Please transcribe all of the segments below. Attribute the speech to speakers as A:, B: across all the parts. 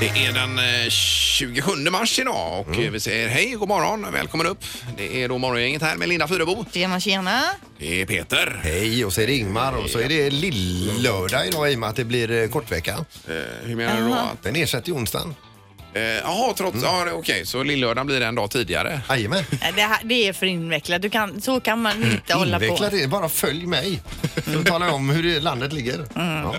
A: Det är den eh, 27 mars idag och eh, vi säger hej, god morgon, välkommen upp. Det är då morgongänget här med Linda Fyrebo.
B: Tjena, tjena.
A: Det är Peter.
C: Hej, och så är det Ingmar och så är det lill-lördag idag i och med att det blir eh, kortvecka.
A: Eh, hur menar du då? att-
C: Den ersätter ju onsdagen.
A: eh, Jaha, trots... Ja, okej, så lillördagen blir en dag tidigare.
C: Jajamän.
B: Nej, Äh, Det, här, det är för invecklat. Du kan, så kan man inte hålla på.
C: Invecklat är det, bara följ mig. Så talar jag om hur det- landet ligger.
B: Mm.
C: Ja.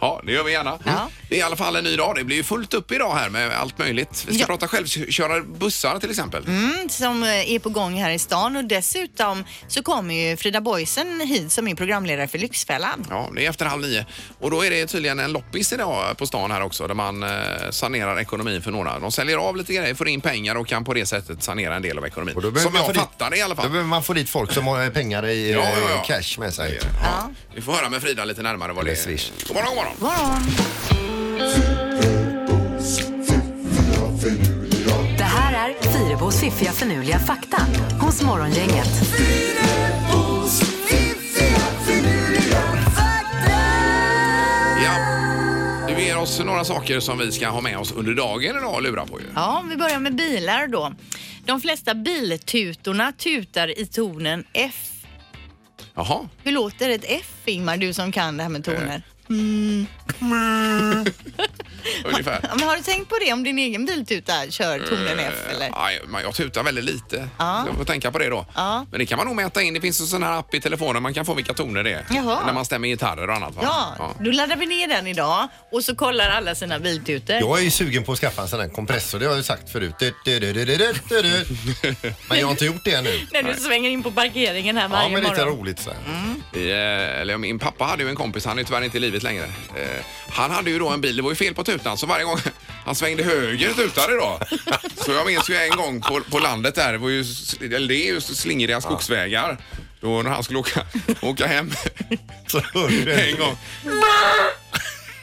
A: Ja, det gör vi gärna.
B: Ja.
A: Det är i alla fall en ny dag. Det blir ju fullt upp idag här med allt möjligt. Vi ska
B: Ja.
A: prata självkörande bussar till exempel.
B: Mm, som eh, är på gång här i stan och dessutom så kommer ju Frida Boisen hit som är programledare för Lyxfällan.
A: Ja, det är efter halv nio. Och då är det tydligen en loppis idag på stan här också där man eh, sanerar ekonomin för några. De säljer av lite grejer, får in pengar och kan på det sättet sanera en del av ekonomin.
C: Och då behöver
A: Som
C: man
A: jag
C: få dit-
A: fattar det i alla
C: Då
A: fall.
C: behöver man få dit folk som har pengar i eh,
A: Ja, ja, ja.
C: cash med sig.
A: Ja. Vi får höra med Frida lite närmare vad det
C: Eller
A: är.
C: Swish.
A: God morgon, god morgon.
B: Morgon.
D: Det här är Fyrabos fiffiga förnuliga fakta hos Morgongänget.
A: Ja. Du ger oss några saker som vi ska ha med oss under dagen idag och lura på ju.
B: Ja, vi börjar med bilar då. De flesta biltutorna tutar i tonen F.
A: Jaha.
B: Hur låter ett F, Ingmar, du som kan det här med toner?
A: Ungefär.
B: Ja, men har du tänkt på det om din egen biltuta kör tonen F? Eller?
A: Nej, Eh, men jag tutar väldigt lite.
B: Ja.
A: Jag får tänka på det då.
B: Ja.
A: Men det kan man nog mäta in. Det finns en sån här app i telefonen man kan få vilka toner det är.
B: Jaha.
A: När man stämmer gitarrer och annat. Va?
B: Ja, då laddar vi ner den idag och så kollar alla sina biltutor.
C: Jag är ju sugen på att skaffa en sån här kompressor, det har jag ju sagt förut. Du, du, du, du, du, du, du, du. Men jag har inte gjort det ännu.
B: När du svänger in på parkeringen här
C: Ja,
B: varje
C: men lite
B: morgon. Mm.
C: roligt så här.
A: I, eh, eller min pappa hade ju en kompis, han är ju tyvärr inte i livet längre. Eh, han hade ju då en bil, det var ju fel på tutan, så varje gång han svängde höger tutade då. Så jag minns ju en gång på, på landet där, det, var ju, s- eller det är ju slingriga skogsvägar. Då när han skulle åka, åka hem
C: Så hör du det.
A: en gång,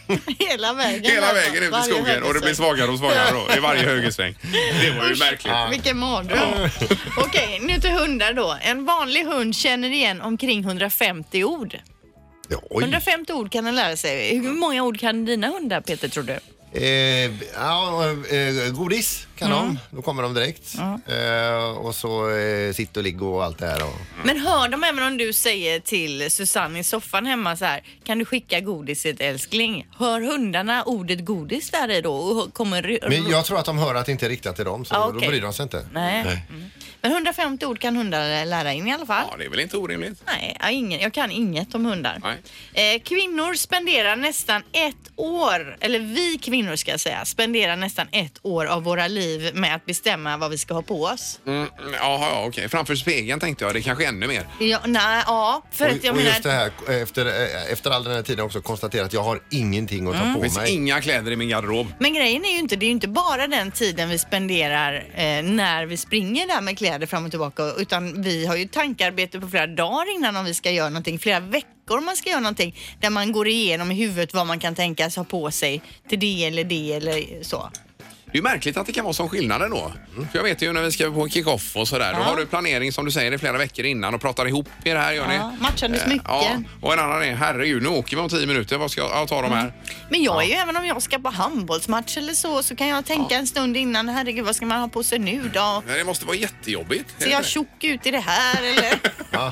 B: Hela vägen.
A: hela
B: alltså.
A: vägen ut i
B: Varje
A: skogen och det blir
B: högersväng.
A: svagare och svagare då, i varje högersväng. Det var ju
B: Usch,
A: märkligt.
B: Vilken mardröm. Okej, nu till hundar då. En vanlig hund känner igen omkring 150 ord.
C: Ja, oj.
B: 150 ord kan den lära sig. Hur många ord kan dina hundar, Peter, tror
A: Mm.
B: du?
C: Eh, ja, eh, godis kan
B: Mm.
C: de. Då kommer de direkt. Eh, och så eh, sitt och ligg och allt det här. Och...
B: Men hör de även om du säger till Susanne i soffan hemma så här, kan du skicka godiset älskling? Hör hundarna ordet godis där i då och kommer... ry-
C: Men jag tror att de hör att det inte är riktat till dem, så
B: Ja,
C: då
B: Ah, okej.
C: bryr de sig inte.
B: Nej. Mm. Men 150 ord kan hundar lära in i alla fall.
A: Ja, det är väl inte orimligt.
B: Nej, jag, har ingen, jag kan inget om hundar.
A: Nej.
B: Eh, kvinnor spenderar nästan ett år, eller vi kvinnor ska jag säga, spenderar nästan ett år av våra liv med att bestämma vad vi ska ha på oss.
A: Mm, jaha, ja, okej. Framför spegeln tänkte jag, det är kanske ännu mer.
B: Ja, nej, ja, för att
C: Och,
B: jag
C: och
B: menar...
C: just det här, eh, efter, eh, efter all den här tiden också konstaterat att jag har ingenting att ta
B: Mm.
A: Det
C: på
A: finns
C: mig.
A: inga kläder i min garderob.
B: Men grejen är ju inte, det är ju inte bara den tiden vi spenderar eh, när vi springer där med kläder fram och tillbaka utan vi har ju tankarbete på flera dagar innan om vi ska göra någonting, flera veckor om man ska göra någonting där man går igenom i huvudet vad man kan tänkas ha på sig till det eller det eller så.
A: Det är ju märkligt att det kan vara sån skillnad ändå. För jag vet ju när vi ska på kick-off och sådär, då har du planering som du säger i flera veckor innan och pratar ihop er här gör ni.
B: Ja, matchande
A: Eh,
B: smycken.
A: Ja, och en annan är, herregud nu åker vi om tio minuter, vad ska jag, jag ta dem
B: Mm.
A: här?
B: Men jag är ju, även om jag ska på handbollsmatch eller så, så kan jag tänka en stund innan, herregud vad ska man ha på sig nu då?
A: Men det måste vara jättejobbigt.
B: Ser jag tjock ut i det här eller?
C: Ah.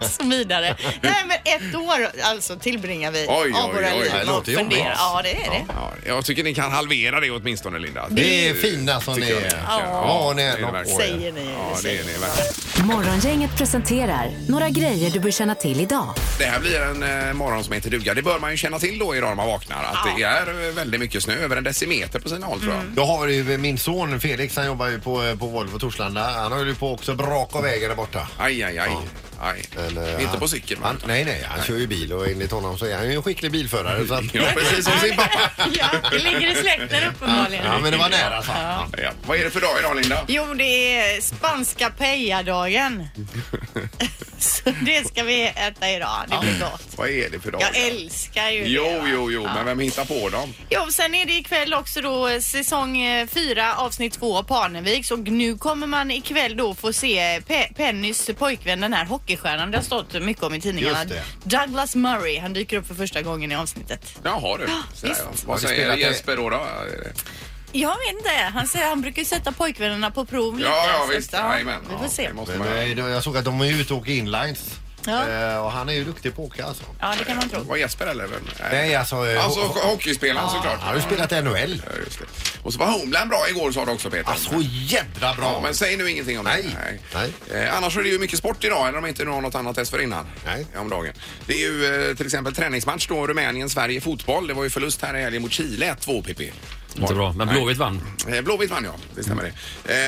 B: och så vidare. Nej men ett år alltså tillbringar vi
A: Oj,
B: av
A: oj,
B: våra
A: oj.
B: liv.
A: Det
B: och
C: låter
B: funderar.
C: jobbigt.
B: Ja det är det.
A: Ja, jag tycker ni kan halvera det åtminstone Linda.
C: Det är fina som
A: tycker
C: ni
A: jag
C: är.
A: verkligen.
C: Ja, ni är
A: det
C: något
A: verkligen.
C: år.
B: Säger ni.
A: Ja, det är
B: säger.
A: det verkligen.
D: Morgongänget presenterar några grejer du bör känna till idag.
A: Det här blir en eh, morgon som heter duga. Det bör man ju känna till då idag när man vaknar. Att det är eh, väldigt mycket snö, över en decimeter på sina håll tror jag.
C: Jag har ju min son Felix, han jobbar ju på, på Volvo Torslanda. Han höll ju på också braka vägen där borta.
A: Aj, aj, aj. aj.
C: Men, eh,
A: Inte
C: han-
A: på cykel va?
C: han, Nej, nej, han kör ju bil och enligt honom så är han ju en skicklig bilförare. Så att,
A: Ja, precis som sin pappa.
B: Ja, det ligger i släkten uppenbarligen.
C: ja, men det var nära så. Ja.
A: Ja. Vad är det för dag idag Linda?
B: Jo, det är spanska pejadagen. Så det ska vi äta idag. Det blir gott.
A: Vad är det för dag?
B: Jag älskar ju det.
A: Jo,
B: va?
A: jo, jo, men vem hittar på dem?
B: Jo, sen är det ikväll också då eh, säsong 4 avsnitt 2 av Parneviks och nu kommer man ikväll då få se eh, Pe- Pennys pojkvän, den här hockeystjärnan det har stått mycket om i tidningarna.
C: Just
B: Douglas Murray, han dyker upp för första gången i avsnittet.
A: Jaha du. Sådär, ja. Vad
C: Har vi
A: säger
C: spelat det?
A: Jesper då? då?
B: Jag vet inte. Han, säger, han brukar ju sätta pojkvännerna på prov lite.
A: Ja, ja
B: så
A: visst.
B: att, ja,
A: Jajamän.
B: Vi får
A: Ja,
B: se.
A: det måste
C: Men,
A: man
C: eh,
A: göra.
C: då- jag såg att de var ute och åkte inlines.
B: Ja.
C: Eh, och han är ju duktig på att åka alltså.
B: Ja, det kan man tro.
A: Var Jesper eller? Vem?
C: Nej, alltså, eh,
A: Alltså ho- hockeyspelaren såklart.
C: Han har ju spelat NHL.
A: Ja, just det. Och så var Homeland bra igår sa du också Peter.
C: Alltså jädra bra!
A: Ja, men säg nu ingenting om
C: Nej.
A: det.
C: Nej.
A: Eh, annars är det ju mycket sport idag, eller om inte nu har något annat dessförinnan. eh,
C: Nej.
A: Om dagen. Det är ju eh, till exempel träningsmatch då, Rumänien-Sverige i fotboll. Det var ju förlust här i helgen mot Chile, 1-2 PP.
E: Inte bra, men
A: Nej.
E: Blåvitt vann.
A: Eh, Blåvitt vann ja, det
C: Mm.
A: stämmer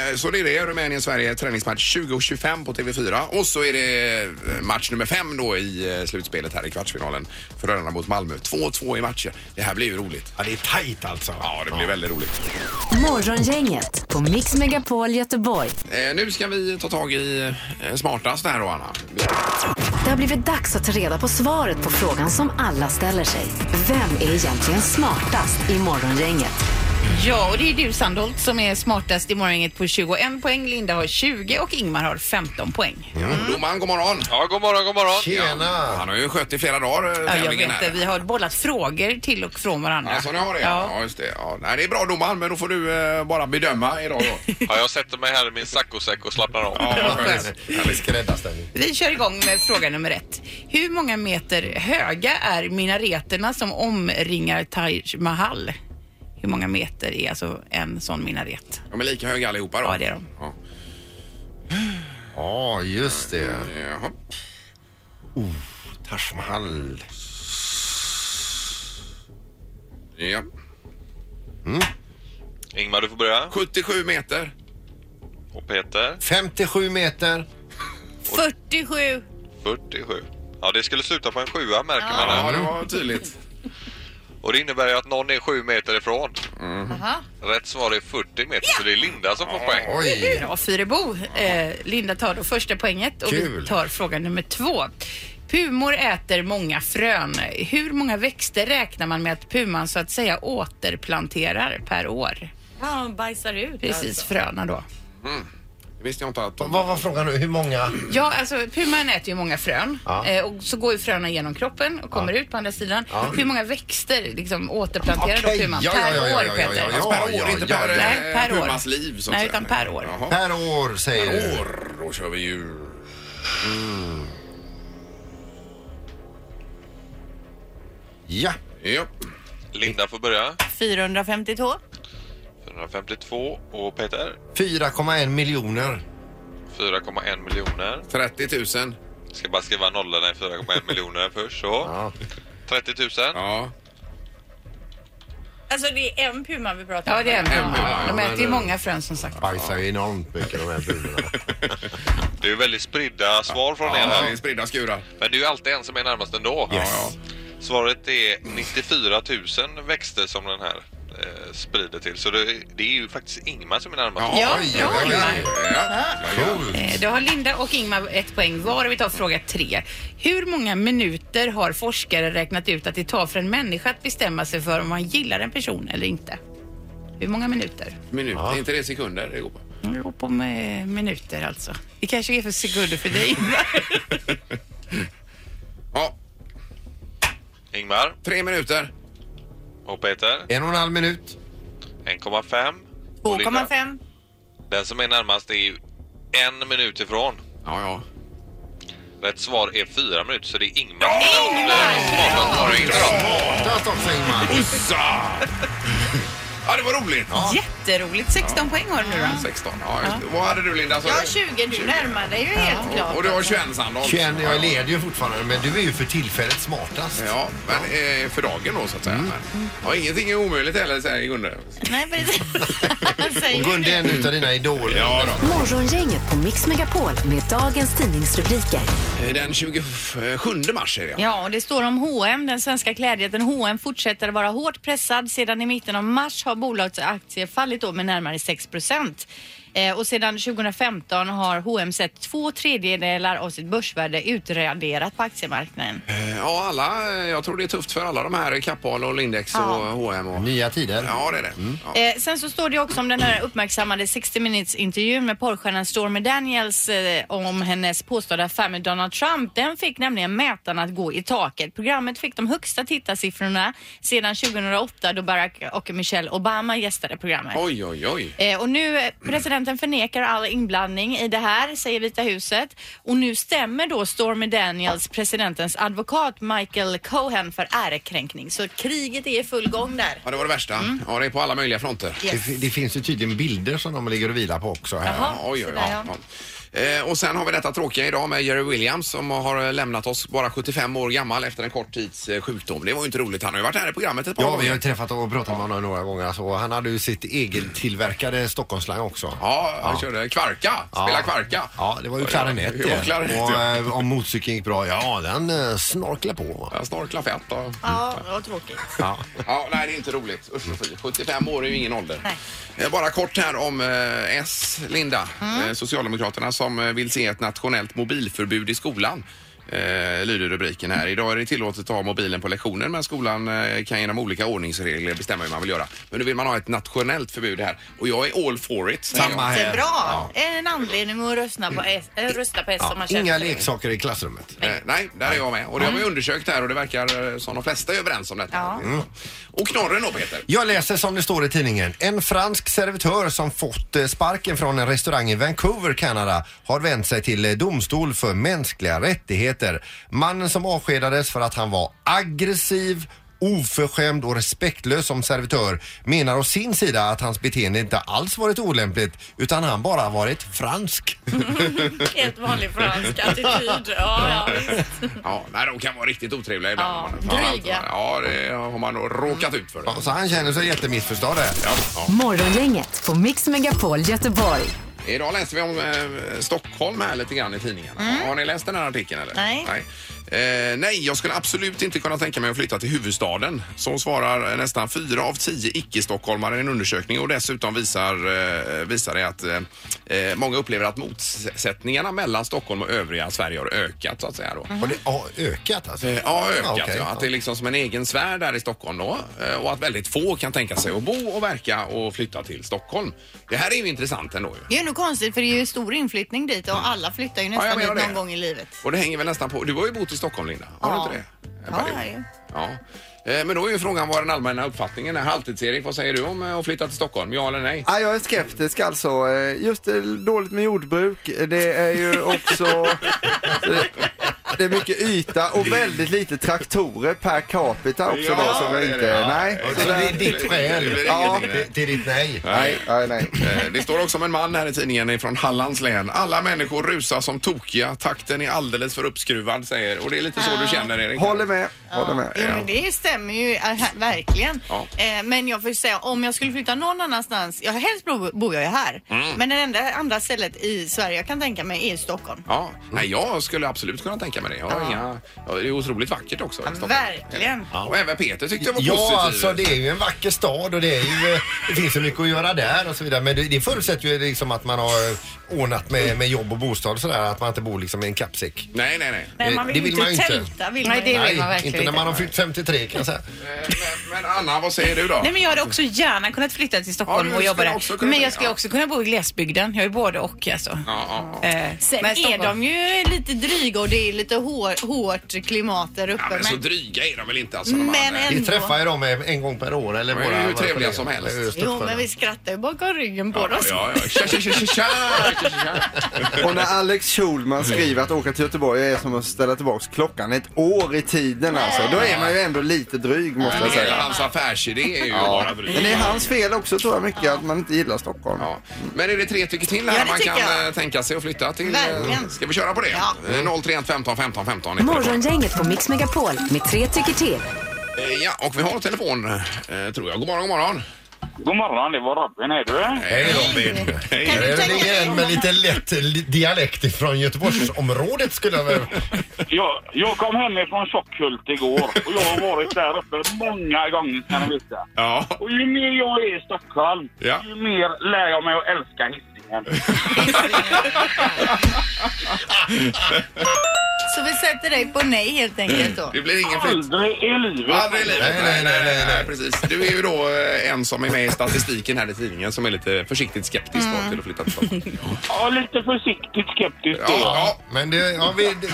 A: det. Eh, Så det är det, Rumänien-Sverige träningsmatch 20.25 på TV4 och så är det eh, match nummer fem då i eh, slutspelet här i kvartsfinalen. Frölunda mot Malmö. 2-2 i matcher. Det här blir ju roligt.
C: Ja, det är tajt alltså.
A: Ja, det blir väldigt roligt.
D: Morgongänget på Mix Megapol Göteborg.
A: Eh, nu ska vi ta tag i eh, smartast här då, Anna.
D: Det har blivit dags att ta reda på svaret på frågan som alla ställer sig. Vem är egentligen smartast i Morgongänget?
B: Ja, och det är du Sandholt som är smartast i morgongänget på 21 poäng. Linda har 20 och Ingmar har 15 poäng.
A: Domaren, god morgon.
F: Ja, god morgon, god morgon.
C: Tjena!
A: Han har ju skött i flera dagar
B: Ja,
A: eh,
B: jag vet
A: tävlingen
B: inte,
A: här.
B: vi har bollat frågor till och från varandra.
A: Alltså ni har det? Ja, ja just det. Ja, nej, det är bra domaren, men då får du eh, bara bedöma idag då.
F: Ja, jag sätter mig här i min saccosäck och slappnar av.
A: Ja, vad skönt.
C: Härlig skräddarställning.
B: Vi kör igång med fråga nummer ett. Hur många meter höga är minareterna som omringar Taj Mahal? Hur många meter är alltså en sån minaret?
A: De är lika höga allihopa då?
B: Ja, det är de.
A: Ja.
C: Ja, just det.
A: Jaha.
C: Taj Mahal.
A: Ja.
F: Ingmar, du får börja.
A: 77 meter.
F: Och Peter,
C: 57 meter.
B: 47!
F: 47. Ja, det skulle sluta på en sjua märker man
A: Ja,
F: här.
A: det var tydligt.
F: Och det innebär ju att någon är sju meter ifrån.
A: Mm.
B: Aha.
F: Rätt svar är 40 meter, så det är Linda som får poäng.
C: Oj!
B: Bra Fyrebo. Eh, Linda tar då första poänget och vi
C: Kul.
B: tar fråga nummer två. Pumor äter många frön. Hur många växter räknar man med att puman så att säga återplanterar per år?
G: Ja, han bajsar ut. alltså.
B: Precis, fröna då.
A: Det visste jag inte att...
C: Vad var frågan nu? Hur många?
B: Ja, alltså puman äter ju många frön
C: Ja.
B: eh, och så går ju fröna genom kroppen och kommer ut på andra sidan. Hur många växter liksom återplanterar
C: Okej,
B: då puman
C: ja,
B: per
C: ja, ja,
B: år,
C: ja, ja,
B: Peter?
C: ja, ja.
A: Alltså, per år, inte
C: ja,
A: per,
C: ja.
A: eh,
B: Nej, per år.
A: pumas liv så att
B: Nej,
A: säga.
B: utan per år.
A: Jaha.
C: Per år säger
A: Per
C: du.
A: år. Då kör vi ju...
C: Ja.
A: Ja.
F: Linda får börja.
B: 452.
F: 452 och Peter,
C: 4,1 miljoner.
F: 4,1 miljoner.
A: 30 000.
F: Ska bara skriva nollorna i 4,1 miljoner först, så.
C: Ja.
F: 30 000.
A: Ja.
G: Alltså det är en puma vi pratar om.
B: Ja, det är en puma.
A: ja,
B: De
C: men eh,
B: äter ju
C: det-
B: många frön som sagt.
C: Bajsar ju enormt mycket de här bulorna.
F: Det är ju väldigt spridda svar från er
A: Ja, det är
F: här.
A: spridda skurar.
F: Men det är ju alltid en som är närmast ändå.
A: Ja, ja.
F: Svaret är 94 000 växter som den här eh, sprider till. Så det, det är ju faktiskt Ingmar som är närmast.
B: Ja,
A: oj,
B: bra,
A: oj, oj.
B: Ingmar.
A: Ja.
C: Coolt.
B: Eh, Då har Linda och Ingmar ett poäng var och vi tar fråga tre. Hur många minuter har forskare räknat ut att det tar för en människa att bestämma sig för om man gillar en person eller inte? Hur många minuter?
A: Minut, är inte det sekunder det går på?
B: Det beror på med minuter alltså. Det kanske är för sekunder för dig.
A: Ja,
F: Ingmar
A: tre minuter.
F: och Peter
C: En och en halv minut.
F: 1,5. Och Linda.
G: 2,5.
F: Den som är närmast är ju en minut ifrån.
A: Ja, ja.
F: Rätt svar är fyra minuter, så det är Ingmar. Ingmar!
C: Smartast också Ingmar.
A: Ussa! Ja, det var roligt.
B: Jätteroligt. 16 poäng har du nu då.
A: 16. Ja, just det. Vad hade du Linda? sa
G: Jag har
A: du?
G: 20, du närmar dig ju helt klart.
A: Och du har 21 Sandholt.
C: 21, jag leder ju fortfarande men du är ju för tillfället smartast.
A: Ja, men eh, för dagen då så att säga. Men, ja, ingenting är omöjligt heller säger Gunde.
B: Nej, precis.
C: Och Gunde är en utav dina idoler.
A: Ja, då.
D: Morgongänget på Mix Megapol med dagens tidningsrubriker.
A: Eh, Den 27 mars är det.
G: Ja, och det står om H&M, den svenska klädjätten H&M fortsätter vara hårt pressad. Sedan i mitten av mars har bolagets aktier fallit då med närmare 6 procent.
B: Eh, och sedan 2015 har H&M sett två tredjedelar av sitt börsvärde utraderat på aktiemarknaden.
A: Eh, Ja, alla, eh, jag tror det är tufft för alla de här, eh, Kappahl och Lindex och H&M och...
C: Nya tider.
A: Ja, det är det.
C: Mm.
A: Ja.
B: Eh, sen så står det också om den här uppmärksammade 60 Minutes-intervjun med porrstjärnan Stormy Daniels eh, om hennes påstådda affär med Donald Trump. Den fick nämligen mätarna att gå i taket. Programmet fick de högsta tittarsiffrorna sedan 2008 då Barack och Michelle Obama gästade programmet.
A: Oj, oj, oj.
B: Eh, och nu eh, presidenten förnekar all inblandning i det här, säger Vita huset. Och nu stämmer då Stormy Daniels, presidentens advokat Michael Cohen för ärekränkning. Så kriget är i full gång där.
A: Ja, det var det värsta. Ja, det är på alla möjliga fronter.
C: Det, fi- det finns ju tydligen bilder som de ligger och vilar på också. Här.
B: Jaha.
A: Ja, oj, oj,
B: sådär,
A: ja. ja. Eh, Och sen har vi detta tråkiga idag med Jerry Williams som har eh, lämnat oss bara 75 år gammal efter en kort tids eh, sjukdom. Det var ju inte roligt. Han har ju varit här i programmet ett par
C: Ja, vi har
A: gånger.
C: ju träffat och pratat med honom några gånger. Alltså. Han hade ju sitt eget tillverkade Stockholmsslang också.
A: Ja, han körde kvarka. Spela
C: Ja.
A: kvarka.
C: Ja, det var ju klarinett
A: Det var klarinett,
C: Och
A: ja.
C: eh, om motorcykeln gick bra, ja den eh, snorklar på. va.
A: Jag snorklar fett och...
B: Ja, vad tråkigt.
C: Ja.
A: Ja, nej, det är inte roligt. Usch och fy. 75 år är ju ingen ålder.
B: Nej.
A: Eh, Bara kort här om eh, S, Linda.
B: Mm.
A: Eh, Socialdemokraterna som eh, vill se ett nationellt mobilförbud i skolan. Eh, lyder rubriken här. Idag är det tillåtet att ha mobilen på lektionen men skolan eh, kan genom olika ordningsregler bestämma hur man vill göra. Men nu vill man ha ett nationellt förbud här och jag är all for it. säger
C: Samma
A: jag.
C: här.
B: Jättebra! En anledning att rösta på S, äh, rösta på S om man
C: Ja,
B: känner
C: inga
B: för det.
C: leksaker i klassrummet.
A: Eh, nej, där är jag med. Och det har vi undersökt här och det verkar eh, som de flesta är överens om detta. Mm.
B: Ja.
A: Och knorren då Peter?
C: Jag läser som det står i tidningen. En fransk servitör som fått eh, sparken från en restaurang i Vancouver, Kanada har vänt sig till eh, domstol för mänskliga rättigheter. Mannen som avskedades för att han var aggressiv oförskämd och respektlös som servitör menar å sin sida att hans beteende inte alls varit olämpligt utan han bara varit fransk.
B: Helt vanlig fransk attityd. Ja, ja, visst.
A: Ja, nej, de kan vara riktigt otrevliga ibland.
B: Ja,
A: Framförallt-
B: dryga.
A: Ja, det har man nog råkat ut för. Ja.
C: Så han känner sig jättemissförstådd här.
A: Ja.
D: Morgongänget på Mix Megapol Göteborg.
A: Idag läser vi om eh, Stockholm här lite grann i tidningarna. Har ni läst den här artikeln eller?
B: Mm. Nej.
A: Nej. Eh, nej, jag skulle absolut inte kunna tänka mig att flytta till huvudstaden. Så svarar eh, nästan fyra av tio icke-stockholmare i en undersökning och dessutom visar, eh, visar det att eh, eh, många upplever att motsättningarna mellan Stockholm och övriga Sverige har ökat så att säga då.
C: Har det har ökat alltså?
A: Eh, Ja, ökat.
C: okej.
A: ja. Att det är liksom som en egen sfär där i Stockholm då. Eh, Och att väldigt få kan tänka sig att bo och verka och flytta till Stockholm. Det här är ju intressant ändå ju.
B: Det är ju nog konstigt för det är ju stor inflyttning dit och alla flyttar ju
A: Ja, jag
B: nästan
A: menar
B: dit någon
A: det.
B: gång i livet.
A: Och det hänger väl nästan på. Du har ju bott i Stockholm Linda, har
B: Ja.
A: du inte det? En
B: Ja,
A: period.
B: jag har ju.
A: ja. Eh, Men då är ju frågan vad den allmänna uppfattningen är. Halvtids-Erik, vad säger du om eh, att flytta till Stockholm? Ja eller nej?
E: Ja, jag är skeptisk alltså. Eh, Just eh, dåligt med jordbruk. eh, Det är ju också... Det är mycket yta och väldigt lite traktorer per capita också
A: Ja,
E: då som
A: det är
E: jag
A: det,
E: inte...
A: ja.
E: Nej.
C: Ja,
E: så
C: så det är
E: där-
C: ditt
A: Det
C: skäl
A: blir
E: Ja.
A: ingenting där.
C: till, till ditt nej.
E: Nej, nej, nej.
A: Eh, Det står också om en man här i tidningen från Hallands län. Alla människor rusar som tokiga. Takten är alldeles för uppskruvad, säger Och det är lite så du känner, Erik.
E: Håller med, håller med.
B: Jo, men det stämmer ju äh, verkligen.
A: Ja.
B: Eh, Men jag får ju säga, om jag skulle flytta någon annanstans, jag, helst bo- bor jag ju här.
C: Mm.
B: Men det enda andra stället i Sverige jag kan tänka mig är Stockholm.
A: Ja, nej, jag skulle absolut kunna tänka mig det. Jag har inga, ja, det är otroligt vackert också. i Stockholm.
B: verkligen.
A: Ja. Och även Peter tyckte jag var
C: Ja,
A: positiv.
C: alltså det är ju en vacker stad och det, är ju, eh, det finns så mycket att göra där och så vidare. Men det, det förutsätter ju liksom att man har eh, ordnat med, med jobb och bostad och sådär. Att man inte bor liksom i en kappsäck.
A: Nej, nej, nej.
B: Nej,
C: Eh,
B: man vill,
C: det vill
B: inte
C: man ju inte.
B: tälta. Vill
G: Nej,
B: man
G: det
B: ju.
G: vill man verkligen
C: inte när man har fyllt 53 kan jag säga.
A: Eh, Men, men Anna, vad säger du då?
G: Nej, men jag hade också gärna kunnat flytta till
A: Ja,
G: Stockholm
A: du
G: och jobba
A: skulle också
G: där.
A: kunna
G: Men
A: det,
G: jag skulle
A: ja.
G: också kunna bo i glesbygden. Jag är både och alltså.
A: Ja, ja, ja.
G: Eh,
B: Sen
G: men
B: är
G: Stockholm-
B: de ju lite dryga och det är lite hår, hårt klimat där uppe.
A: ja, men så
B: men
A: dryga är de väl inte alltså? de här,
B: men
A: nej.
C: Vi
B: ändå.
C: träffar ju dem en gång per år. Eller
A: Men det är
C: våra,
A: ju
C: våra
A: trevliga
C: kollegor.
A: som helst.
C: Det är ju stort
B: Jo,
C: för
B: men
C: dem.
B: vi skrattar ju bakom ryggen på
A: Ja,
B: dem.
A: ja, ja. Tja, tja, tja, tja, tja, tja, tja.
E: Och när Alex Schulman skriver att åka till Göteborg är som att ställa tillbaks klockan ett år i tiden alltså. Då är man ju ändå lite dryg måste
A: Men
E: jag
A: hela
E: säga.
A: hans affärsidé är ju bara
E: Men det är
A: dryg.
E: hans fel också tror jag mycket att man inte gillar Stockholm.
A: Ja. Men är det tre tycker till här
B: Ja, det
A: man kan
B: tycker jag.
A: eh, tänka sig att flytta till? eh,
B: Verkligen.
A: Ska vi köra på det?
B: Ja.
A: Eh, 031 15 15 15. heter det.
D: Morgongänget på Mix Megapol med tre tycker till.
A: Eh, Ja, och vi har telefon eh, tror jag. God morgon, god morgon.
H: God morgon, det var Robin är du.
A: Hej
B: Robin.
A: Hej.
B: Kan
C: Det
B: du
C: är väl
B: tänka dig
C: ingen
B: om
C: med
B: man-
C: lite lätt li- dialekt från Göteborgsområdet skulle jag väl...
H: Jag, jag kom hemifrån Tjockhult igår och jag har varit där uppe många gånger kan ni veta.
A: Ja.
H: Och ju mer jag är i Stockholm,
A: Ja.
H: ju mer lär jag mig att älska Hisingen. Hisingen.
B: Så vi sätter dig på nej helt enkelt då.
A: Det blir ingen flytt.
H: Aldrig i livet.
A: Aldrig i livet.
C: Nej, nej, nej, nej, nej.
A: Precis. Du är ju då eh, en som är med i statistiken här i tidningen som är lite försiktigt skeptisk då till att flytta till Stockholm.
H: Ja, lite försiktigt skeptisk
A: Ja,
H: då.
A: ja.
C: Men det, ja, vi, det,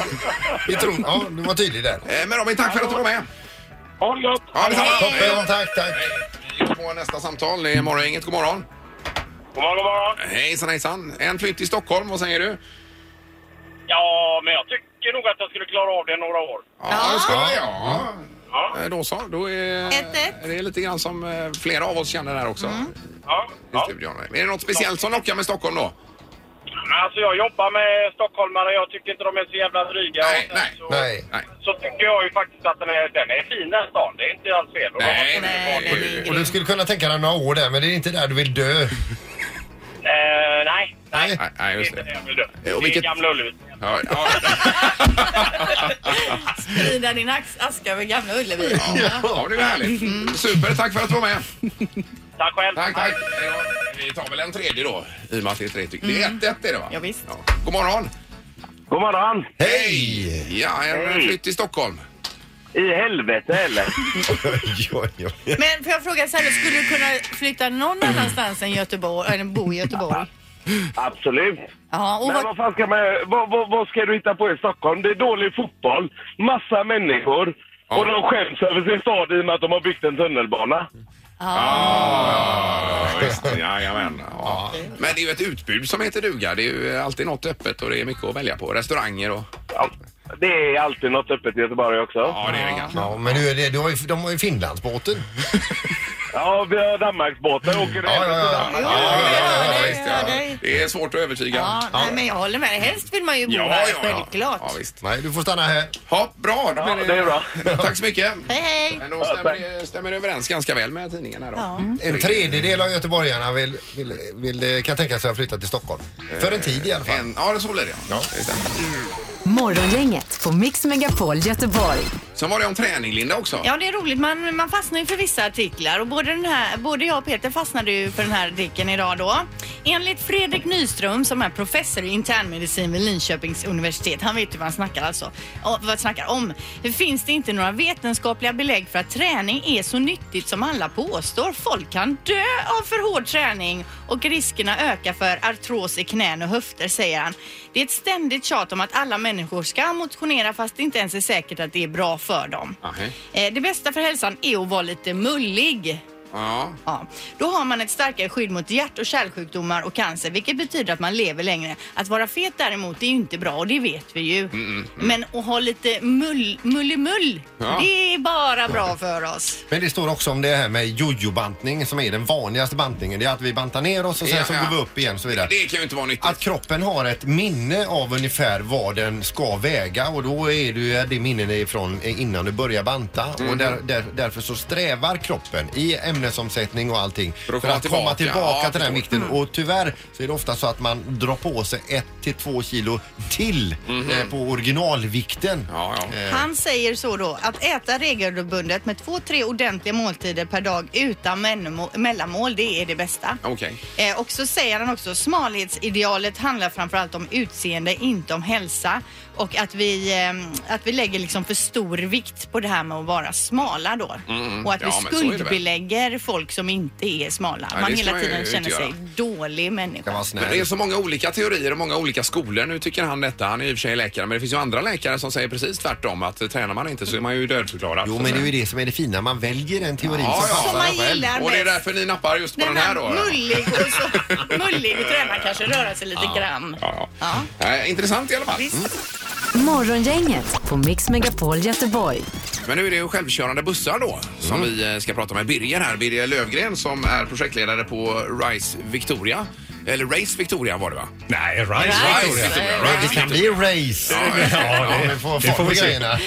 C: vi tror, ja, du var tydlig där.
A: Eh, Men Robin, tack för att du var med.
H: Ha det gött!
A: Ja, detsamma.
C: Toppen, tack, tack.
A: Vi går på nästa samtal. Det är Morgongänget. God morgon.
H: God morgon, god morgon.
A: Hejsan, hejsan. En flytt till Stockholm. Vad säger du?
H: Ja, men jag tycker nog att jag skulle klara av det några år.
A: Ja, det ska jag. Ja.
H: Ja.
A: Eh, Då så. Då är,
B: Ett, ett.
A: det är lite grann som eh, flera av oss känner här också.
H: Ja,
A: I studion. Men Är det något speciellt som lockar med Stockholm då?
H: Alltså jag jobbar med stockholmare, jag tycker inte de är så jävla dryga.
A: Nej,
H: Och sen
A: nej,
H: så,
C: Nej.
A: Nej.
H: så tycker jag ju faktiskt att den är, den är fin den stan, det är inte alls fel. Och de har
A: Nej,
H: fina
A: nej,
H: barn.
A: nej.
C: Och du skulle kunna tänka dig några år där, men det är inte där du vill dö.
H: Eh, nej, nej.
A: Nej, nej,
H: Det är
A: just
H: inte det
A: det.
H: jag vill dö. Det
A: Och
H: är
A: vilket-
H: Gamla Ullevi.
A: Ja, ja.
B: Sprida din ax- aska över Gamla Ullevi.
A: ja, det är härligt. Super, tack för att du var med.
H: Tack själv.
A: Tack, tack. Ja, Vi tar väl en tredje då, i och med att det är tre stycken. Det är 1-1 är det va?
B: Mm. Ja, visst.
A: God morgon!
H: God morgon.
C: Hej!
A: Ja, en
H: Hej.
A: flytt till Stockholm.
H: I helvete eller?
C: Oj, oj, oj.
B: Men får jag fråga så här, skulle du kunna flytta någon annanstans än Göteborg, eller bo i Göteborg?
H: Absolut.
B: Ja, och
H: Men
B: vad,
H: vad fan ska man, vad, vad, vad ska du hitta på i Stockholm? Det är dålig fotboll, massa människor och de skäms över sin stad i och med att de har byggt en tunnelbana.
A: Ja, visst. Jajamän. Ja. Men det är ju ett utbud som heter duga. Det är ju alltid något öppet och det är mycket att välja på. Restauranger och...
H: Ja, det är alltid något öppet i Göteborg också.
A: Ja, det är det kanske.
C: Ja, men nu är det, du har ju, de har ju Finlandsbåten.
H: Ja, vi har Danmarksbåtar och
I: Mm.
H: åker
C: Ja, ja, ja.
H: ja,
B: jo,
A: Ja,
B: jag hör
A: ja,
B: dig,
A: visst,
B: jag hör
A: ja.
B: dig.
A: Det är svårt att övertyga.
B: Ja, nej, men jag håller med dig. Helst vill man ju bo här, självklart.
A: Ja, visst.
C: Nej, du får stanna här.
A: Ja, bra. då
H: Ja,
A: blir
H: det är bra.
A: Tack så mycket.
B: Hej, hej!
A: Men då stämmer, det- stämmer det överens ganska väl med tidningen här då.
C: En tredjedel av göteborgarna vill, vill, vill, eh, kan tänka sig att flytta till Stockholm. För en tid i alla fall.
A: En, ja, det så blir det. Ja. det stämmer.
D: Morgongänget på Mix Megapol Göteborg.
A: Sen var det om träning, Linda, också.
B: Ja, det är roligt. Man, man fastnar ju för vissa artiklar och både, den här, både jag och Peter fastnade ju för den här artikeln idag då. Enligt Fredrik Nyström som är professor i internmedicin vid Linköpings universitet, han vet ju vad han snackar alltså, och vad han snackar om, finns det inte några vetenskapliga belägg för att träning är så nyttigt som alla påstår. Folk kan dö av för hård träning och riskerna ökar för artros i knän och höfter, säger han. Det är ett ständigt tjat om att alla människor ska motionera fast det inte ens är säkert att det är bra för dem.
A: Ahej.
B: Eh, Det bästa för hälsan är att vara lite mullig.
A: Ja.
B: Ja. Då har man ett starkare skydd mot hjärt och kärlsjukdomar och cancer vilket betyder att man lever längre. Att vara fet däremot är ju inte bra och det vet vi
A: Mm,
B: ju. Men att ha lite mull, mullimull,
A: Ja.
B: det är bara bra för oss.
C: Men det står också om det här med jojo-bantning som är den vanligaste bantningen. Det är att vi bantar ner oss och sen
A: Ja,
C: så
A: ja.
C: går vi upp igen och så vidare.
A: Det kan ju inte vara nyttigt.
C: Att kroppen har ett minne av ungefär vad den ska väga och då är det ju det minnen ifrån innan du börjar banta.
A: Mm.
C: Och där, där, därför så strävar kroppen i ämnesomsättning och allting
A: För att
C: för
A: komma
C: att
A: tillbaka.
C: komma tillbaka
A: Ja,
C: till den
A: förstår. Mm.
C: vikten. Och tyvärr så är det ofta så att man drar på sig ett till två kilo till eh, på originalvikten.
A: Mhm. Ja,
C: Eh,
A: ja.
B: Han säger så då, att äta regelbundet med två, tre ordentliga måltider per dag utan menmo- mellanmål, det är det bästa.
A: Okej.
B: Eh, och så säger han också smalhetsidealet handlar framförallt om utseende, inte om hälsa. Och att vi, ehm, att vi lägger liksom för stor vikt på det här med att vara smala då. Och att
A: Ja,
B: vi
A: men så är det väl.
B: skuldbelägger folk som inte är smala.
A: Nej,
B: man
A: det ska
B: hela
A: man
B: tiden
A: ju
B: känner
A: inte
B: sig
A: göra.
B: dålig
C: Ska
B: människa.
C: vara
A: Men det är
C: snäll.
A: så många olika teorier och många olika skolor. Nu tycker han detta. Han är i och för sig läkare, men det finns ju andra läkare som säger precis tvärtom. Att eh, tränar man inte så är man ju dödförklarad.
C: Jo, men det är ju det som är det fina. Man väljer en teori
A: Ja,
C: som
A: ja.
C: passar
B: Som man
C: en själv.
B: gillar.
A: Och det är
B: bäst.
A: därför ni nappar just på den,
B: Den
A: här
B: här
A: då.
B: mullig och så mullig och tränar kanske röra sig lite grann.
A: Ja, ja.
B: Ja.
A: Eh, intressant i alla fall. Mm.
D: Morgongänget på Mix Megapol Göteborg.
A: Men nu är det ju självkörande bussar då som
C: Mm.
A: vi eh, ska prata med Birger här. Birger Lövgren som är projektledare på Rise Victoria. Eller Race Victoria var det va?
I: Nej, Rise
B: Rise.
I: Victoria.
C: Nej, Det kan bli race.
A: Ja,
I: Ja,
C: Ja,
I: det,
C: vi får
I: det får
C: fart på
I: vi se.
C: grejerna.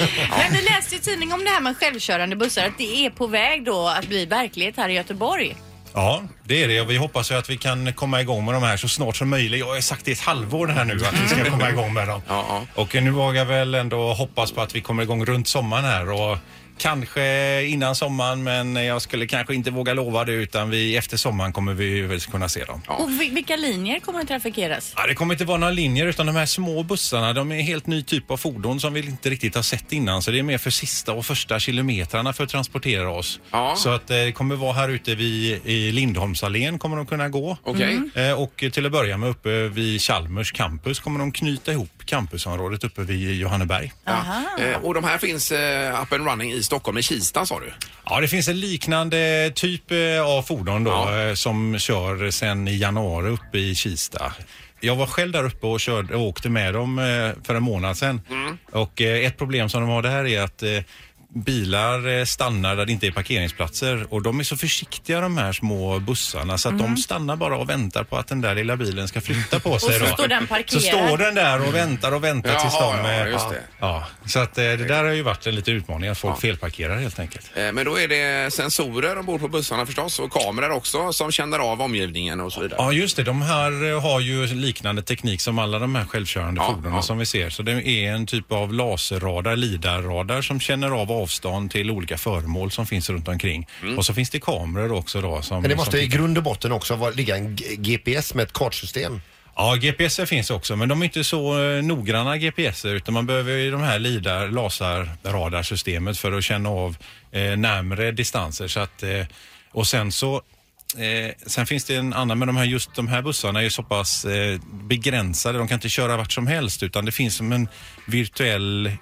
B: Men vi läste i tidningen om det här med självkörande bussar att det är på väg då att bli verklighet här i Göteborg.
I: Ja, det är det. Och vi hoppas ju att vi kan komma igång med de här så snart som möjligt. Jag har sagt det i ett halvår här nu att vi ska komma igång med dem.
A: Ja, ja.
I: Och nu vågar jag väl ändå hoppas på att vi kommer igång runt sommaren här. Och Kanske innan sommaren men jag skulle kanske inte våga lova det utan vi, efter sommaren kommer vi väl kunna se dem.
G: Och vi- vilka linjer kommer att trafikeras?
I: Ja, det kommer inte vara några linjer utan de här små bussarna de är en helt ny typ av fordon som vi inte riktigt har sett innan så det är mer för sista och första kilometrarna för att transportera oss.
A: Ja.
I: Så att eh, det kommer vara här ute vid, i Lindholmsallén kommer de kunna gå.
A: Okej.
B: Mm.
I: Eh, Och till att börja med uppe vid Chalmers campus kommer de knyta ihop campusområdet uppe vid Johanneberg.
A: Ja. Eh, och de här finns eh, up and running i Stockholm, i Kista sa du?
I: Ja, det finns en liknande typ eh, av fordon då
A: Ja.
I: eh, som kör sen i januari uppe i Kista. Jag var själv där uppe och, körde, och åkte med dem eh, för en månad sedan.
A: Mm.
I: Och eh, ett problem som de har där är att eh, bilar eh, stannar där det inte är parkeringsplatser och de är så försiktiga de här små bussarna så att
A: Mm.
I: de stannar bara och väntar på att den där lilla bilen ska flytta på sig.
G: så
I: då.
G: står den parkerad.
I: Så står den där och väntar och väntar tills
A: Jaha,
I: de...
A: ja,
I: eh,
A: just det.
I: Ja, så att eh, det där har ju varit en liten utmaning att folk felparkerar helt enkelt.
A: Eh, Men då är det sensorer ombord på bussarna förstås och kameror också som känner av omgivningen och så vidare.
I: Ja, just det. De här eh, har ju liknande teknik som alla de här självkörande
A: Ja,
I: fordonen
A: ja.
I: som vi ser. Så det är en typ av laserradar, lidarradar som känner av avstånd till olika föremål som finns runt omkring. Och så finns det kameror också då. Som,
C: Mm. Men det måste
I: som
C: i grund och botten också vara, ligga en G- GPS med ett kartsystem.
I: Ja, GPS finns också, men de är inte så eh, noggranna GPS utan man behöver ju de här lidar, laserradarsystemet för att känna av eh, närmre distanser. Så att, eh, och sen så Eh, sen finns det en annan, men de här, just de här bussarna är ju så pass eh, begränsade. De kan inte köra vart som helst utan det finns som en virtuell eh,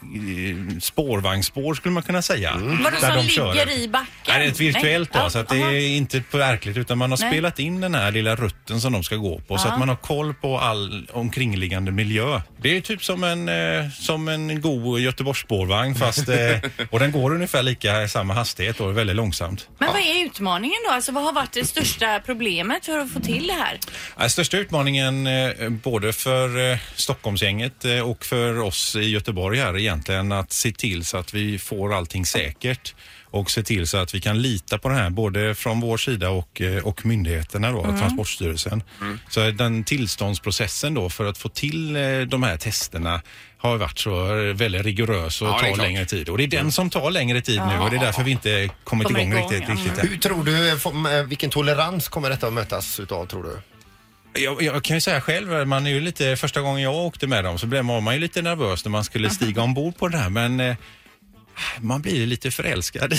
I: spårvagnsspår skulle man kunna säga.
G: Mm. Vadå
I: där
G: som
I: de kör.
G: ligger i backen?
I: Nej, det är ett virtuellt
G: Nej.
I: då, så att det
G: Aha.
I: är inte på verkligt utan man har
G: Nej.
I: spelat in den här lilla rutten som de ska gå på så att man har koll på all omkringliggande miljö. Det är ju typ som en, eh, som en god Göteborgsspårvagn fast, eh, och den går ungefär lika i samma hastighet och väldigt långsamt.
G: Men vad är utmaningen då? Alltså vad har varit det största problemet för att få till det här?
I: Ja, Största utmaningen eh, både för eh, Stockholmsgänget eh, och för oss i Göteborg här egentligen att se till så att vi får allting säkert och se till så att vi kan lita på det här både från vår sida och, eh, och myndigheterna
A: Mm.
I: då, Transportstyrelsen. Så den tillståndsprocessen då för att få till eh, de här testerna har varit så eh, väldigt rigorös och
A: Ja, det är
I: tar
A: klart.
I: längre tid. Och det är den som tar längre tid nu och det är därför vi inte kommit
G: Kommer
I: igång,
G: igång,
I: riktigt,
G: ja.
I: riktigt än.
C: Hur tror du, eh, får- eh, vilken tolerans kommer detta att mötas utav tror du?
I: Jag, jag kan ju säga själv, man är ju lite, första gången jag åkte med dem så blev man, man ju lite nervös när man skulle stiga ombord på det här men eh, man blir ju lite förälskad.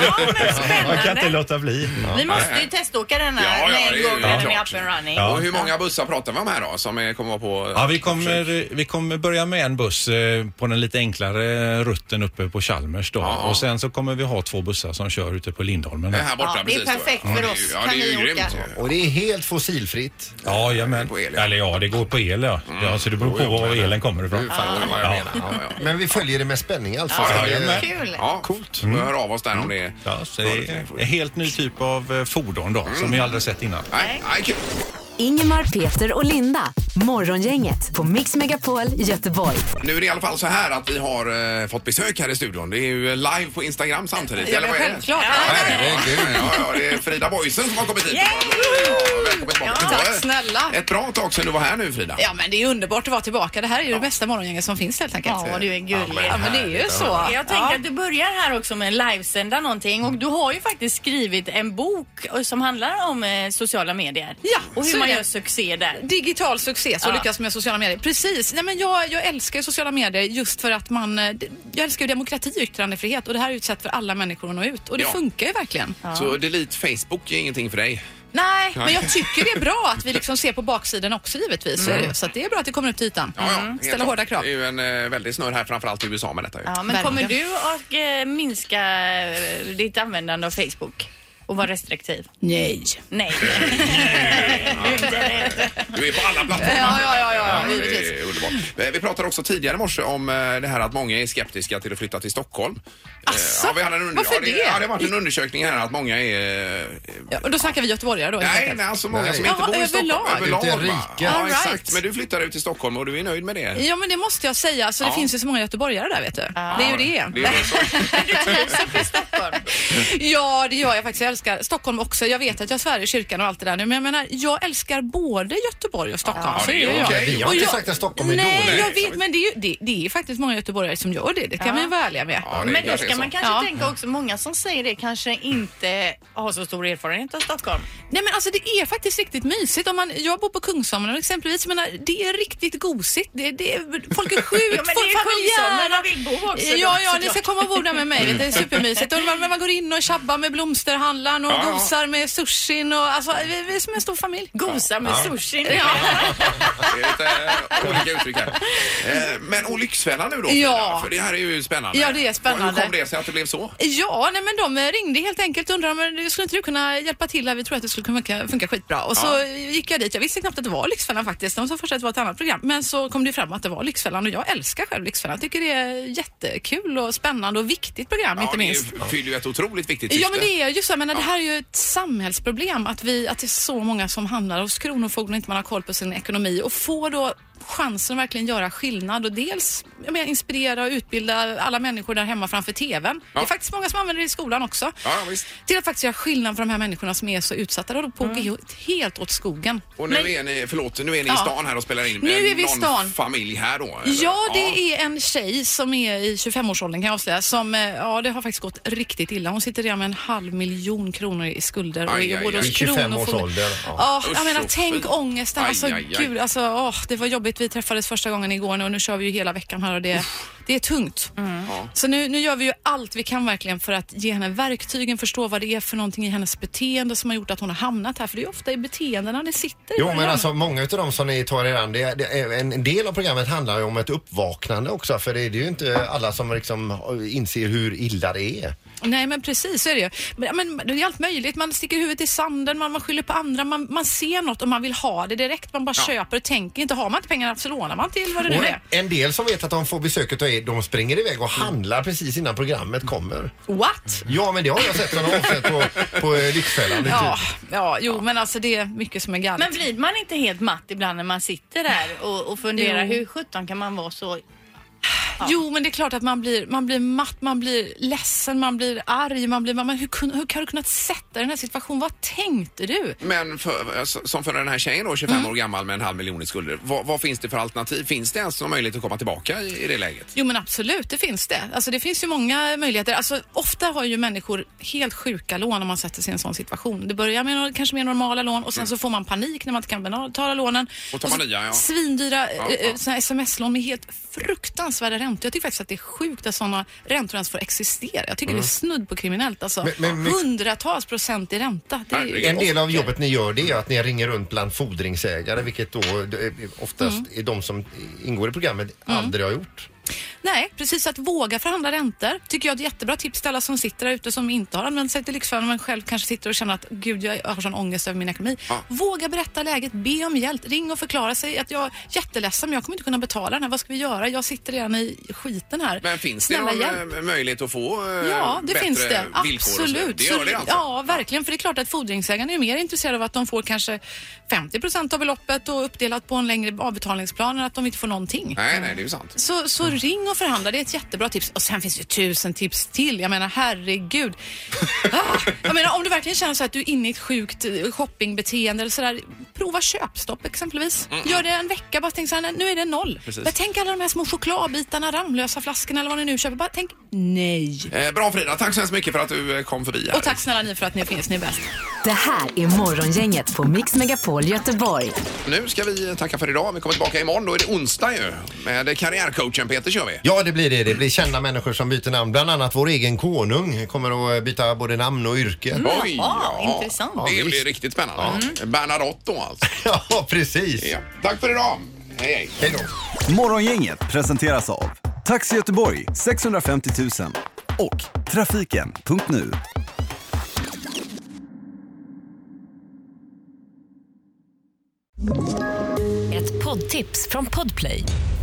G: Ja, men
I: man kan inte
G: spännande.
I: låta bli.
G: Vi måste ju teståka den
A: Ja, ja,
G: här
A: det är
G: en
A: ju
G: gång när den är
A: klart.
G: up and running.
A: Och hur många bussar pratar vi om här då som eh, kommer vara på?
I: Ja, vi kommer, vi kommer börja med en buss eh, på den lite enklare rutten uppe på Chalmers då.
A: Ja.
I: Och sen så kommer vi ha två bussar som kör ute på Lindholmen.
A: Eh, Här borta
B: Ja, det är
A: precis då,
B: perfekt
A: ja.
B: för
A: Ja, det är
B: oss.
A: ju- Ja,
B: Kan
A: det är ju
B: ni
A: grymt.
B: åka?
A: ju.
C: Och det är helt fossilfritt.
I: Ja, jajamän.
A: På el, ja. Mm.
I: Eller ja, det går på el ja. ja så det beror på var elen kommer ifrån.
A: Fattar du vad jag menar? Ja, ja.
C: Men vi följer det med spänning alltså.
I: Ja,
C: Så det-
I: jajamän.
B: Kul.
A: Ja, coolt. Vi hör av oss där om det
I: Mm. Ja, så det är en helt ny typ av eh, fordon då, som vi aldrig sett innan.
A: Nej, nej, kul.
D: Ingemar, Peter och Linda. Morgongänget på Mix Megapol Göteborg.
A: Nu är det i alla fall så här att vi har eh, fått besök här i studion. Det är ju eh, live på Instagram samtidigt.
G: Ja,
A: eller
G: men
A: vad är det?
G: självklart.
A: Ja, herregud. Ja, ja, det är Frida Boisen som har kommit hit.
G: Yay!
A: Ja, välkommen tillbaka.
G: Ja,
A: Det var
J: tack snälla.
A: Ett bra tag sedan du var här nu Frida.
J: Ja men det är underbart att vara tillbaka. Det här är ju det bästa morgongänget som finns helt enkelt.
B: Ja, du är gullig.
J: Ja, men det är ju så.
G: Jag tänker att du börjar här också med en livesända någonting och du har ju faktiskt skrivit en bok eh, som handlar om eh, sociala medier.
J: Ja,
G: Och
J: så
G: hur
J: är
G: man
J: det.
G: gör succé där.
J: Digital succé, så
G: Ja.
J: lyckas med sociala medier. Precis. Nej, men jag, jag älskar ju sociala medier just för att man... eh, d- Jag älskar ju demokrati och yttrandefrihet och det här är ju ett sätt för alla människor att nå ut. Och det
A: Ja.
J: funkar ju verkligen.
A: Så delete Facebook är ingenting för dig.
J: Nej,
A: Nej.
J: men jag tycker det är bra att vi liksom ser på baksidan också givetvis. Så är det ju. Så att det är bra att det kommer upp till ytan.
A: Ja, ja, helt
J: Mm, Ställa
A: klart.
J: hårda krav.
A: Det är ju en eh, väldig snurr här framförallt i USA med detta ju.
G: Ja, men
J: Verkligen.
G: kommer du att eh, minska eh, ditt användande av Facebook? Och vara restriktiv?
J: Nej.
G: Nej.
A: Du är på alla plattformar.
J: Ja, ja, ja, ja,
A: det är underbart. Eh, Vi pratade också tidigare i morse om eh, det här att många är skeptiska till att flytta till Stockholm. Eh,
J: Asså?
A: ja, vi hade en under-
J: Varför
A: ja, det?
J: det?
A: Ja, det har varit en undersökning här att många är... eh,
J: Ja, och då snackar vi göteborgare då? helt
A: Nej,
J: enkelt.
A: nej, alltså många
C: Nej.
A: som inte
J: Jaha,
A: bor i Stockholm.
J: överlag.
C: Ute i
A: va?
C: riket.
A: Ja,
J: All right.
A: exakt. Men du flyttade ut till Stockholm och du är nöjd med det?
J: Ja men det måste jag säga,
B: Alltså,
J: så det
A: Ja.
J: finns ju så många göteborgare där vet du. Det är ju det.
A: det är så.
G: Du trivs uppe i Stockholm.
J: Ja det gör jag faktiskt, jag älskar Stockholm också. Jag vet att jag svär i kyrkan och allt det där nu, men jag menar, jag älskar både Göteborg och Stockholm.
C: Ja,
J: så
C: det är
J: jag.
C: okej. Vi har
J: Och
C: inte
J: jag-
C: sagt att Stockholm är
J: Nej,
C: dåligt.
J: jag vet, men det är, ju, det, det är faktiskt många göteborgare som gör det. Det kan
B: Ja.
J: man ju vara ärliga med.
A: Ja, det
B: Men då
A: kanske är
B: ska
A: så.
B: man kanske
J: Ja.
B: tänka också, många som säger det kanske inte har så stor erfarenhet av Stockholm.
J: Nej men alltså det är faktiskt riktigt mysigt. Om man, jag bor på Kungsholmen exempelvis. Jag menar, det är riktigt gosigt. Det, det, folk är sjukt,
B: Ja, men det
J: folk
B: är Kungsholmen
J: familjära.
B: man vill bo också.
J: Ja,
B: då,
J: ja, ni
B: såklart.
J: ska komma och bo där med mig. Det är supermysigt. Och man, man går in och tjabbar med blomsterhandlaren och
A: Ja, ja.
J: gosar med sushin och alltså, vi, vi är som en stor familj.
B: Gosa med sushin.
A: Det är lite eh, olika uttryck här. Eh, Men och Lyxfällan nu då? Frida,
J: Ja.
A: För det här är ju spännande.
J: Ja, det är spännande.
A: Hur kom det sig att det blev så?
J: Ja, nej men de ringde helt enkelt och undrade om du- skulle inte du kunna hjälpa till här? Vi tror att det skulle kunna funka, funka skitbra. Och så
A: Ja.
J: gick jag dit. Jag visste knappt att det var Lyxfällan faktiskt. De sa först att det var ett annat program. Men så kom det ju fram att det var Lyxfällan och jag älskar själv Lyxfällan. Jag tycker det är jättekul och spännande och viktigt program
A: Ja,
J: inte
A: det är
J: minst.
A: ju- fyller ju ett otroligt viktigt syfte.
J: Ja men det är ju så, men det här är ju ett samhällsproblem att, vi, att det är så många som hamnar hos Kronofogden och inte man har koll på sin ekonomi och får då chansen att verkligen göra skillnad och dels jag menar, inspirera och utbilda alla människor där hemma framför TVn.
A: Ja.
J: Det är faktiskt många som använder det i skolan också.
A: Ja, ja, visst.
J: Till att faktiskt göra skillnad för de här människorna som är så utsatta. De pågår helt- helt åt skogen.
A: Och nu är ni, förlåt, nu är ni i
J: Ja.
A: stan här och spelar in.
J: Nu
A: Eh,
J: är vi i
A: någon
J: stan.
A: familj här då? eller?
J: Ja, det är en tjej som är i 25-årsåldern kan jag avslöja som, eh, ja det har faktiskt gått riktigt illa. Hon sitter redan med en halv miljon kronor i skulder och
A: Aj, aj,
J: är både
A: aj.
J: hos
A: I
C: 25 års
J: Kronofogden-
C: ålder, ja.
J: Ja,
A: Usch,
J: jag menar
A: och
J: tänk
A: fy.
J: ångesten.
A: Aj,
J: Alltså
A: aj, aj.
J: gud, alltså åh, det var jobbigt. Vi träffades första gången igår och nu kör vi ju hela veckan här och det, det är tungt.
A: Mm.
J: Så nu, nu gör vi ju allt vi kan verkligen för att ge henne verktygen, förstå vad det är för någonting i hennes beteende som har gjort att hon har hamnat här. För det är ju ofta i beteendena det sitter. i
C: Jo men
J: början.
C: alltså många utav dem som ni tar er an, det, det, är- en del av programmet handlar ju om ett uppvaknande också för det är ju inte alla som liksom inser hur illa det är.
J: Nej men precis så är det ju. Men, men det är allt möjligt. Man sticker huvudet i sanden, man, man skyller på andra, man, man ser något och man vill ha det direkt. Man bara köper och tänker inte. Har man inte pengarna så lånar man till vad det nu
C: Och
J: är.
C: en del som vet att de får besöket och är, de springer iväg och handlar precis innan programmet kommer.
J: What?
C: Ja men det har jag sett sådana avsnitt på, på eh, Lyxfällan. det är
J: Ja,
C: typ.
J: ja, jo men alltså det är mycket som är galet.
B: Men blir man inte helt matt ibland när man sitter där och, och funderar
J: Jo.
B: hur sjutton kan man vara så...
J: Jo, men det är klart att man blir, man blir matt, man blir ledsen, man blir arg. Man blir, man, hur, kun- hur har du kunnat sätta dig i den här situationen? Vad tänkte du?
A: Men för, eh, s- som för den här tjejen då, 25
J: Mm.
A: år gammal med en halv miljon i skulder. Vad, vad finns det för alternativ? Finns det ens någon möjlighet att komma tillbaka i, i det läget?
J: Jo men absolut, det finns det. Alltså, det finns ju många möjligheter. Alltså, ofta har ju människor helt sjuka lån om man sätter sig i en sån situation. Det börjar med några- kanske mer normala lån och sen så får man panik när man inte kan betala lånen.
A: Och tar man
J: så
A: nya, ja.
J: Svindyra
A: Ja,
J: eh,
A: ja.
J: såna här sms-lån med helt fruktansvärda räntor. Jag tycker faktiskt att det är sjukt att såna räntor ens får existera. Jag tycker det är snudd på kriminellt alltså.
C: Mm. Men- men- men-
J: Hundratals procent i ränta. Det är ju...
A: Herregud.
C: En del av jobbet ni gör det är att ni ringer runt bland fordringsägare vilket då eh, oftast är de som ingår i programmet aldrig har gjort.
J: Nej, precis. Att våga förhandla räntor tycker jag är ett jättebra tips till alla som sitter där ute som inte har använt sig till Lyxfällan men själv kanske sitter och känner att gud, jag har sån ångest över min ekonomi.
A: Ja.
J: Våga berätta läget, be om hjälp, ring och förklara sig att jag är jätteledsen men jag kommer inte kunna betala den här. Vad ska vi göra? Jag sitter redan i skiten här.
A: Men finns det någon
J: hjälp.
A: eh, möjlighet att få eh,
J: Ja, det
A: bättre
J: finns det.
A: villkor? och så vidare?
J: Absolut.
A: Det gör det
J: Så-
A: alltså?
J: Ja, verkligen. För det är klart att fordringsägaren är mer intresserad av att de får kanske 50 av beloppet och uppdelat på en längre avbetalningsplan än att de inte får någonting.
A: Nej, nej, det är ju sant.
J: Så, så ring och förhandla, det är ett jättebra tips. Och sen finns det ju tusen tips till. Jag menar, herregud. Ah, jag menar, om du verkligen känner så att du är inne i ett sjukt eh, shoppingbeteende eller sådär, prova köpstopp exempelvis. Gör det en vecka, bara tänk så här, "Nej, nu är det noll.
A: Precis.
J: Men tänk alla de här små chokladbitarna, Ramlösa flaskorna eller vad ni nu köper. Bara tänk nej.
A: Eh, bra Frida, tack så hemskt mycket för att du eh, kom förbi här.
J: Och tack snälla ni för att ni finns, ni är bäst.
D: Det här är Morgongänget på Mix Megapol Göteborg.
A: Nu ska vi tacka för idag. Vi kommer tillbaka imorgon. Då är det onsdag ju. Med karriärcoachen Peter kör vi.
C: Ja, det blir det. Det blir kända människor som byter namn. Bland annat vår egen konung kommer att byta både namn och yrke.
A: Oj,
B: Jaha, intressant.
A: Det
C: Ja,
A: blir
C: visst.
A: riktigt spännande.
J: Mm.
A: Bernadotte då alltså.
C: Ja, precis.
A: Ja. Tack för idag. Hej, hej.
C: Hej då.
K: Morgongänget presenteras av Taxi Göteborg 650 000 och Trafiken.nu.
L: Ett poddtips från Podplay.